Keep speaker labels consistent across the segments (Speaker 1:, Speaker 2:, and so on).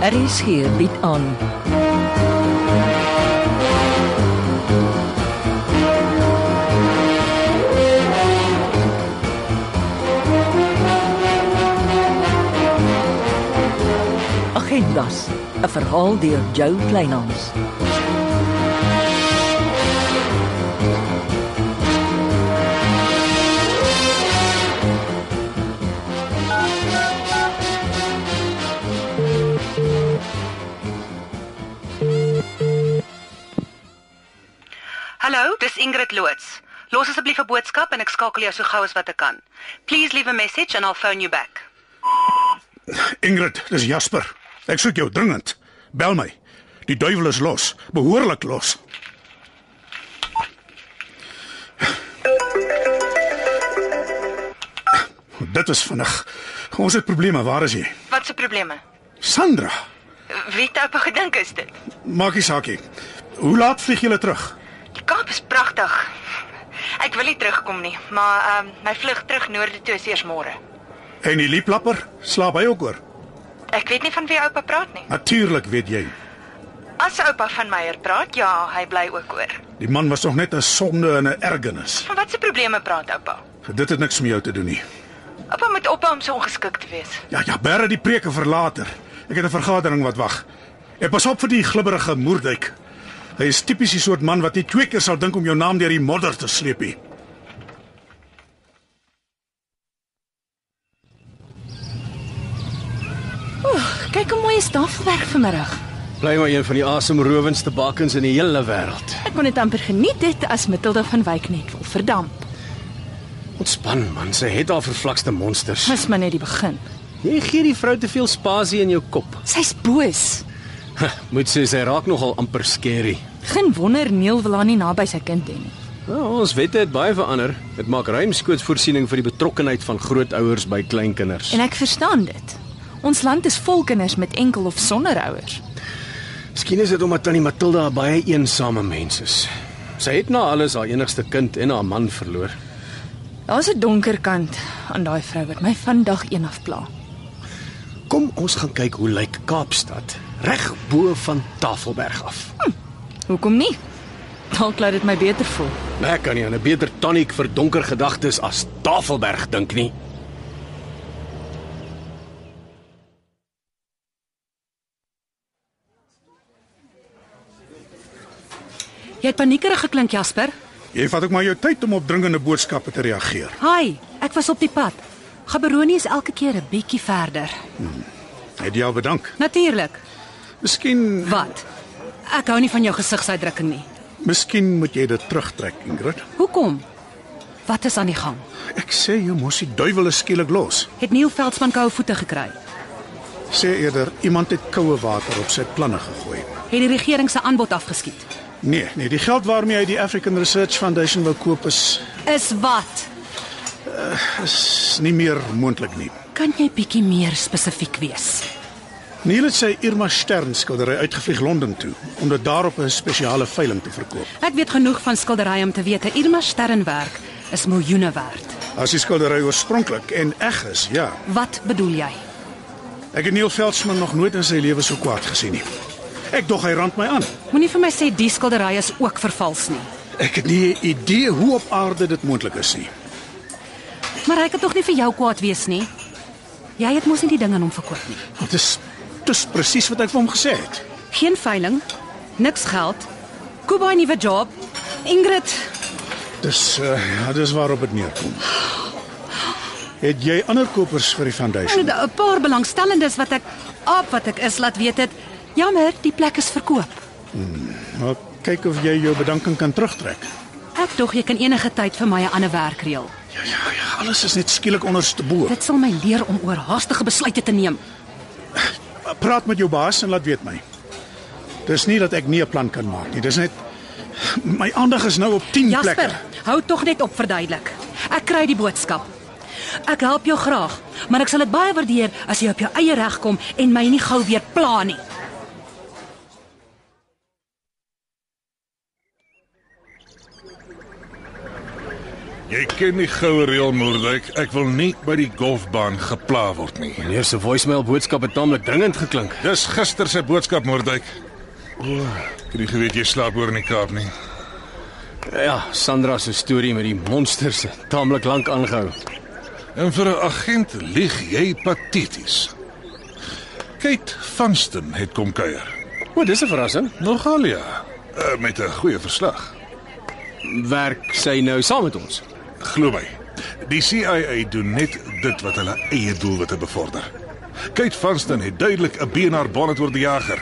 Speaker 1: RSG bied aan. Agendas, 'n verhaal deur Jo Kleinhans.
Speaker 2: Hallo, dis Ingrid Loots. Los asseblief 'n boodskap en ek skakel jou so gou as wat ek kan. Please leave a message and I'll phone you back.
Speaker 3: Ingrid, dis Jasper. Ek soek jou dringend. Bel my. Die duiwel is los, behoorlik los. Dit is vinnig. Ons het probleme. Waar is jy?
Speaker 2: Wat se probleme?
Speaker 3: Sandra,
Speaker 2: Wie het op gedink is dit?
Speaker 3: maak nie saak nie. Hoe laat vlieg jy terug?
Speaker 2: Die Kaap is pragtig. Ek wil nie terugkom nie, maar ehm um, my vlug terug noorde toe is eers môre.
Speaker 3: En die lieplapper, slaap hy ook oor?
Speaker 2: Ek weet nie van wie oupa praat nie.
Speaker 3: Natuurlik weet jy.
Speaker 2: As oupa van Meyer praat, ja, hy bly ook oor.
Speaker 3: Die man was nog net 'n sonde en 'n ergernis.
Speaker 2: Van wat se probleme praat oupa?
Speaker 3: Dit het niks met jou te doen nie.
Speaker 2: Oupa moet ophou om so ongeskik te wees.
Speaker 3: Ja, ja, bære die preke vir later. Ek het 'n vergadering wat wag. En pas op vir die glibberige moerduik. Hy is tipies die soort man wat nie twee keer sal dink om jou naam deur die modder te sleep nie.
Speaker 4: Kyk hoe mooi is tafelwerk vanmiddag.
Speaker 5: Bly maar een van die asemrowendste bakens in die hele wêreld.
Speaker 4: Ek kon dit amper geniet het as Matilda van Wyk net wil verdamp.
Speaker 5: Ontspan man, sy het haar vervlakste monsters.
Speaker 4: Mis maar net die begin.
Speaker 5: Jy gee die vrou te veel spasie in jou kop.
Speaker 4: Sy's boos.
Speaker 5: Moet sê sy raak nogal amper skerry.
Speaker 4: Geen wonder Neil wil haar nie naby sy kind hê nie.
Speaker 5: Nou, ons wette het baie verander. Dit maak ruimskoots voorsiening vir die betrokkeheid van grootouers by kleinkinders.
Speaker 4: En ek verstaan dit. Ons land is vol kinders met enkel of sonder ouers.
Speaker 5: Miskien is dit omdat tannie Matilda 'n baie eensame mens is. Sy het na alles haar enigste kind en haar man verloor.
Speaker 4: Daar's 'n donker kant aan daai vrou wat my vandag eendag pla.
Speaker 5: Kom ons gaan kyk hoe lyk Kaapstad reg bo van Tafelberg af.
Speaker 4: Hoekom nie? Dalk laat dit my beter voel.
Speaker 5: Ek kan nie aan 'n beter tonic vir donker gedagtes as Tafelberg dink nie.
Speaker 6: Jy het paniekerig geklink, Jasper.
Speaker 3: Jy vat ook maar jou tyd om op dringende boodskappe te reageer.
Speaker 6: Hi, ek was op die pad. Gaberoni is elke keer 'n bietjie verder.
Speaker 3: Het jy al bedank?
Speaker 6: Natuurlik.
Speaker 3: Miskien
Speaker 6: Wat? Ek hou nie van jou gesigsuitdrukking nie.
Speaker 3: miskien moet jy dit terugtrek, Ingrid.
Speaker 6: Hoekom? Wat is aan die gang?
Speaker 3: Ek sê jy mos die duiwel is skielik los.
Speaker 6: Het Neil Veldsmann koue voete gekry?
Speaker 3: Sê eerder iemand het koue water op sy planne gegooi.
Speaker 6: Het die regering se aanbod afgeskiet?
Speaker 3: Nee, nee, die geld waarmee hy die African Research Foundation wil koop is,
Speaker 6: Is wat?
Speaker 3: is nie meer moontlik nie.
Speaker 6: Kan jy bietjie meer spesifiek wees?
Speaker 3: Neil het sy Irma Stern skildery uitgevlieg Londen toe om dit daarop 'n spesiale veiling te verkoop.
Speaker 6: Ek weet genoeg van skilderye om te weet 'n Irma Sternwerk is miljoene werd.
Speaker 3: As die skildery oorspronklik en eg is, ja.
Speaker 6: Wat bedoel jy?
Speaker 3: Ek het Neil Veldsmann nog nooit in sy lewe so kwaad gesien nie. Ek dog hy rand my aan.
Speaker 6: Moenie vir my sê die skilderye is ook vervals nie.
Speaker 3: Ek het nie 'n idee hoe op aarde dit moontlik is nie.
Speaker 6: Maar hy kan tog nie vir jou kwaad wees nie. Jy het mos nie die ding aan hom verkoop nie.
Speaker 3: Dit is dis presies wat ek vir hom gesê het.
Speaker 6: Geen veiling, niks geld. Kubai nuwe job. Ingrid,
Speaker 3: Dis uh, ja, dis waarop dit neerkom. Het jy ander kopers vir die foundation?
Speaker 6: 'n Nou, paar belangstellendes wat ek op wat ek is laat weet het. Jammer, die plek is verkoop.
Speaker 3: Maar kyk of jy jou bedanking kan terugtrek.
Speaker 6: Ek dog jy kan enige tyd vir my 'n ander werk reël.
Speaker 3: Ja ja ja, alles is net skielik onderste bo.
Speaker 6: Dit sal my leer om oorhaastige besluite te neem.
Speaker 3: Praat met jou baas en laat weet my. Dis nie dat ek nie 'n plan kan maak nie. Dis net my aandag is nou op 10 plekke.
Speaker 6: Jasper, hou tog net op verduidelik. Ek kry die boodskap. Ek help jou graag, maar ek sal dit baie waardeer as jy op jou eie reg kom en my nie gou weer pla nie.
Speaker 7: Jy ken die goue reël Moerdijk, ek wil nie by die golfbaan gepla word nie.
Speaker 5: Meneer se voicemail boodskap het taamlik dringend geklink.
Speaker 7: Dis gister se boodskap Moerdijk. O, ek het nie geweet jy slaap oor in die Kaap nie.
Speaker 5: Ja, Sandra se storie met die monsters het taamlik lank aangehou.
Speaker 7: En vir 'n agent lieg jy pateties. Kate Vanston het kom kuier.
Speaker 5: O, dis 'n verrassing.
Speaker 7: Nogal ja, eh, met 'n goeie verslag.
Speaker 5: Werk sy nou saam met ons?
Speaker 7: Glo my. Die CIA doen net dit wat hulle eie doelwitte bevorder. Kate Vanston het duidelik 'n beenaar bonnet oor die jager.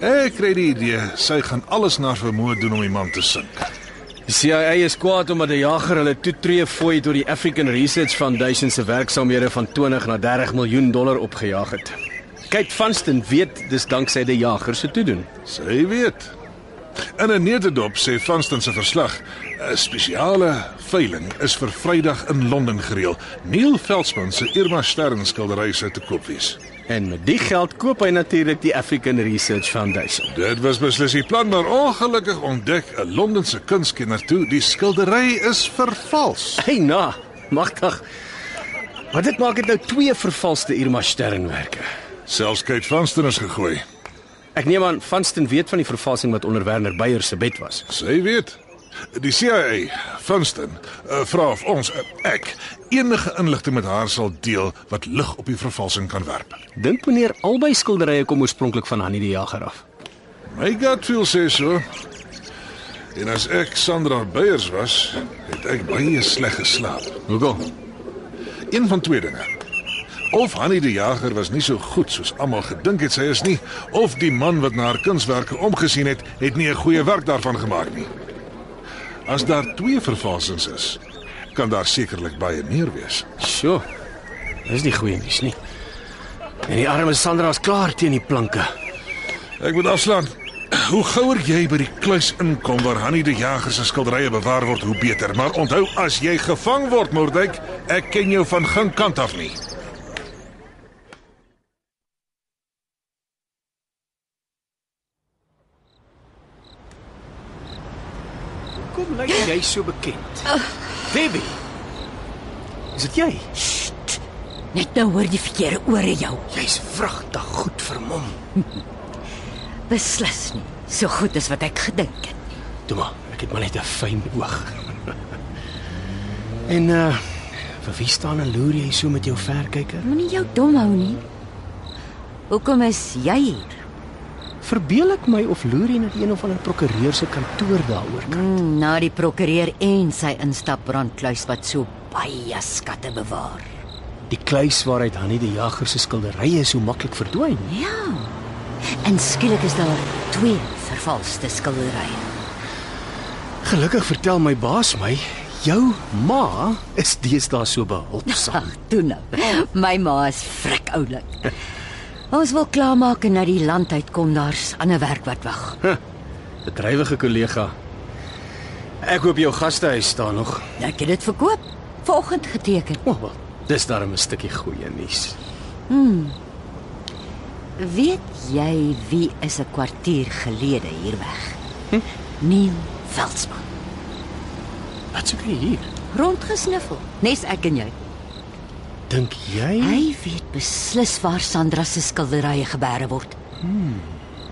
Speaker 7: Ek kry die idee sy gaan alles na haar vermoë doen om die man te sink.
Speaker 5: Die CIA is kwaad omdat die jager hulle toetree fooi tot die African Research Foundation se werksaamhede van 20 na 30 miljoen dollar opgejaag het. Kyk, Vanston weet dis danksy die jager se toedoen.
Speaker 7: Sy weet. In 'n nederdop sê Vanston se verslag, 'n spesiale veiling is vir Vrydag in Londen gereël. Neil Veldsmann se Irma Stern skildery sou te koop wees.
Speaker 5: En met die geld koop hy natuurlik die African Research Foundation.
Speaker 7: Dit was beslis die plan, maar ongelukkig ontdek 'n Londense kunstkenner toe die skildery is vervals.
Speaker 5: Hey na, magtig. Maar dit maak dit nou twee vervalste Irma Sternwerke.
Speaker 7: Selfs Kate Vanston is gegooi.
Speaker 5: Ek neem aan Vanston weet van die vervalsing wat onder Werner Beyer se bed was.
Speaker 7: Sy weet. Die CIA, Vanston, uh, vra of ons uh, ek enige inligting met haar sal deel wat lig op die vervalsing kan werp.
Speaker 5: Dink meneer albei skilderye kom oorspronklik van Hanni die Jager af.
Speaker 7: My gut feel sê so. En as ek Sandra Beyers was, het ek baie sleg geslaap.
Speaker 5: Hoekom?
Speaker 7: Een van twee dinge. Of Hanni die Jager was nie so goed soos almal gedink het sy is nie, of die man wat na haar kunswerke omgesien het, het nie 'n goeie werk daarvan gemaak nie. As daar twee vervalsings is, kan daar sekerlik baie meer wees.
Speaker 5: Sjoe. Dis nie goeie nuus nie. En die arme Sandra is klaar teen die planke.
Speaker 7: Ek moet afslaan. Hoe gouer jy by die kluis inkom waar Hanni die Jager se skilderye bewaar word, hoe beter. Maar onthou, as jy gevang word, Mordyk, ek ken jou van geen kant af nie.
Speaker 5: Kom lyk jy so bekend. Baby. Is dit jy?
Speaker 1: Net nou hoor die verkeerde ore jou.
Speaker 5: Jy's vragtig goed vermom.
Speaker 1: Beslis nie. So goed as wat ek gedink het.
Speaker 5: Toe maar, ek het maar net 'n fyn oog. en uh vir wie staan en loer jy so met jou verkyker?
Speaker 1: Moenie jou dom hou nie. Hoekom is jy hier?
Speaker 5: Verbeel ek my of loer jy na die een of ander prokureur se kantoor daaroor?
Speaker 1: Hmm, na die prokureur en sy instapbrandkluis wat so baie skatte bewaar.
Speaker 5: Die kluis waaruit Hanni die Jager se skilderye so maklik verdwyn.
Speaker 1: Ja. En skielik is daar twee vervalste skilderye.
Speaker 5: Gelukkig vertel my baas my, jou ma is deesdae so behulpsaam.
Speaker 1: Ag, toe nou. My ma is frik oulik. Ons wil klaarmaak en na die land uitkom, daar's ander werk wat wag. Nou,
Speaker 5: Bedrywige kollega. Ek hoop jou gastehuis staan nog.
Speaker 1: Ek het dit verkoop. Vanoggend geteken.
Speaker 5: O, oh, dis darem 'n stukkie goeie nuus.
Speaker 1: Weet jy wie is 'n kwartier gelede hier weg? Neil Veldsmann.
Speaker 5: Wat soek jy hier?
Speaker 1: Rondgesniffel, nes ek en jy.
Speaker 5: Dink jy?
Speaker 1: Hy weet beslis waar Sandra se skilderye gebeere word.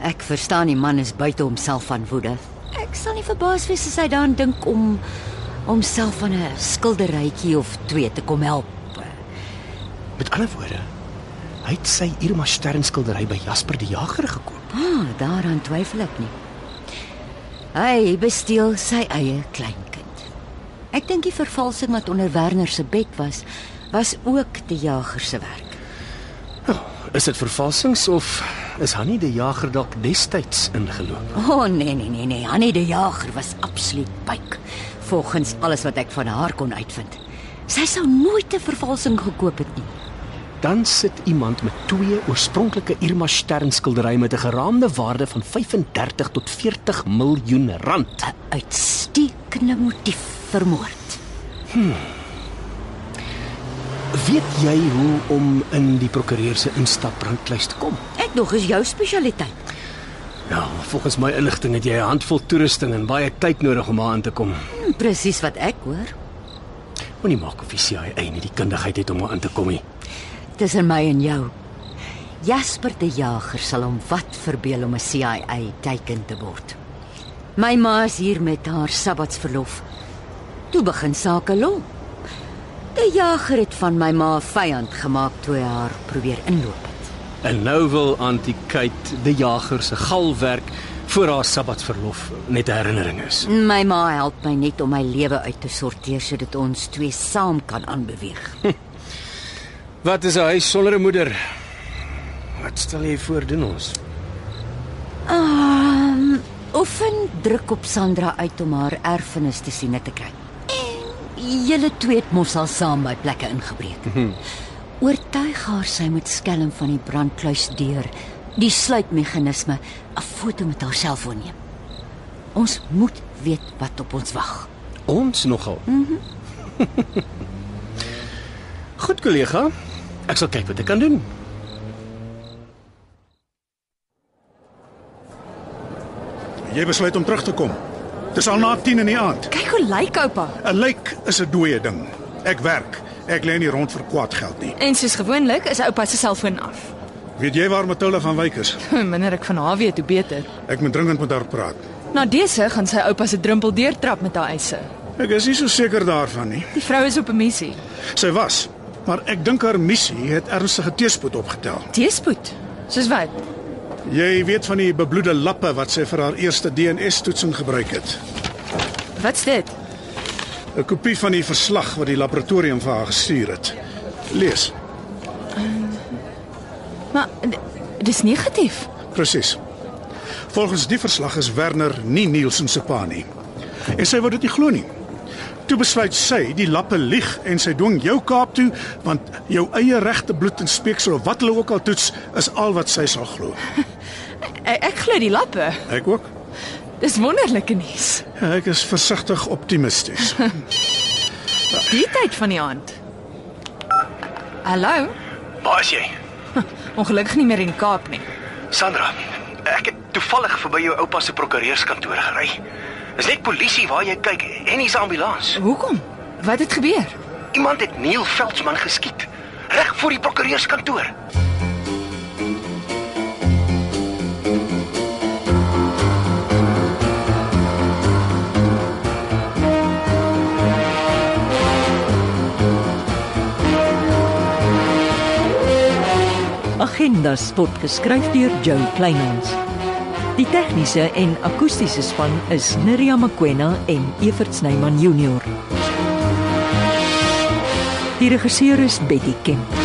Speaker 1: Ek verstaan die man is buite homself van woede. Ek sal nie verbaas wees as hy daaraan dink om homself van 'n skilderytjie of twee te kom help.
Speaker 5: Met ander woorde, hy het sy Irma Stern skildery by Jasper die Jager gekoop.
Speaker 1: Ah, daaraan twyfel ek nie. Hy besteel sy eie kleinkind. Ek dink die vervalsing wat onder Werner se bed was, was ook die jager se werk.
Speaker 5: Is dit vervalsings of is Hanni die Jager dalk destyds ingeloop?
Speaker 1: O oh, nee nee nee nee, Annie die jager was absoluut pyk. Volgens alles wat ek van haar kon uitvind. Sy sou nooit 'n vervalsing gekoop het nie.
Speaker 5: Dan sit iemand met twee oorspronklike Irma Stern skilderye met 'n geraamde waarde van 35 tot 40 miljoen rand.
Speaker 1: 'n Uitstekende motief vir moord.
Speaker 5: Weet jy hoe om in die prokureur se instapbrandlys te kom?
Speaker 1: Ek dog is jou spesialiteit.
Speaker 5: Ja, volgens my inligting het jy 'n handvol toerusting en baie tyd nodig om aan te kom.
Speaker 1: Hm, Presies wat ek hoor.
Speaker 8: Moenie maak of die CIA nie die kundigheid het om haar in te kom nie.
Speaker 1: tussen my en jou. Jasper die Jager sal hom wat verbeel om 'n CIA teiken te word. My ma is hier met haar sabbatsverlof. Toe begin sake lom. Die Jager het van my ma 'n vyand gemaak toe hy haar probeer inloop het.
Speaker 8: En nou wil Auntie Kate die jager se galwerk vir haar sabbatverlof net 'n herinnering is.
Speaker 1: My ma help my net om my lewe uit te sorteer sodat ons twee saam kan aanbeweeg.
Speaker 5: Wat is 'n huis sonder 'n moeder? Wat stel jy voor doen ons?
Speaker 1: Ehm, oefen druk op Sandra uit om haar erfenis te sien te kry. En julle twee het mos al saam by plekke ingebreek. Oortuig haar sy moet skelm van die brandkluis deur, die sluitmeganisme, 'n foto met haar selfoon neem. Ons moet weet wat op ons wag.
Speaker 8: Ons nogal. Mm -hmm. Goed kollega, ek sal kyk wat ek kan doen.
Speaker 3: Jy besluit om terug te kom. Dis al na 10 in die aand.
Speaker 4: Kyk hoe lyk oupa.
Speaker 3: 'n Lijk is 'n dooie ding. Ek werk. Ek lê nie rond vir kwaad geld nie.
Speaker 4: En soos gewoonlik is oupa se selfoon af.
Speaker 3: Weet jy waar Matilda van Wyk is?
Speaker 4: Hoe minder ek van haar weet, hoe beter.
Speaker 3: Ek moet dringend met haar praat.
Speaker 4: Na dese gaan sy oupa se drempel deurtrap met haar eise.
Speaker 3: Ek is nie so seker daarvan nie.
Speaker 4: Die vrou is op 'n missie.
Speaker 3: Sy was, maar ek dink haar missie het ernstige teëspoed opgetel.
Speaker 4: Teespoed. Soos wat?
Speaker 3: Jy weet van die bebloede lappe wat sy vir haar eerste DNS-toetsing gebruik het.
Speaker 4: Wat's dit?
Speaker 3: 'n Kopie van die verslag wat die laboratorium vir haar gestuur het. Lees.
Speaker 4: Maar d- dis negatief.
Speaker 3: Presies. Volgens die verslag is Werner nie Nielsen se pa nie. En sy wou dit nie glo nie. Toe besluit sy die lappe lieg en sy dwing jou Kaap toe want jou eie regte bloed en speeksel of wat hulle ook al toets is al wat sy sal glo.
Speaker 4: Ek, E-, ek glo die lappe.
Speaker 3: Ek ook.
Speaker 4: Dis wonderlike nuus.
Speaker 3: Ja, Ek is versigtig optimisties.
Speaker 4: Die tyd van die aand. Hallo.
Speaker 9: Waar is jy?
Speaker 4: Ongelukkig nie meer in die Kaap nie.
Speaker 9: Sandra, ek het toevallig verby jou oupa se prokureurskantoor gery. Dis net polisie waar jy kyk en hier's 'n ambulans.
Speaker 4: Hoekom? Wat het gebeur?
Speaker 9: Iemand het Neil Veldsmann geskiet reg voor die prokureurskantoor.
Speaker 10: Agenda sport geskryf deur Joe Kleinhans. Die tegniese en akoestiese span is Neriya Mkwena en Evert Snyman Junior. Die regisseur is Betty Kemp.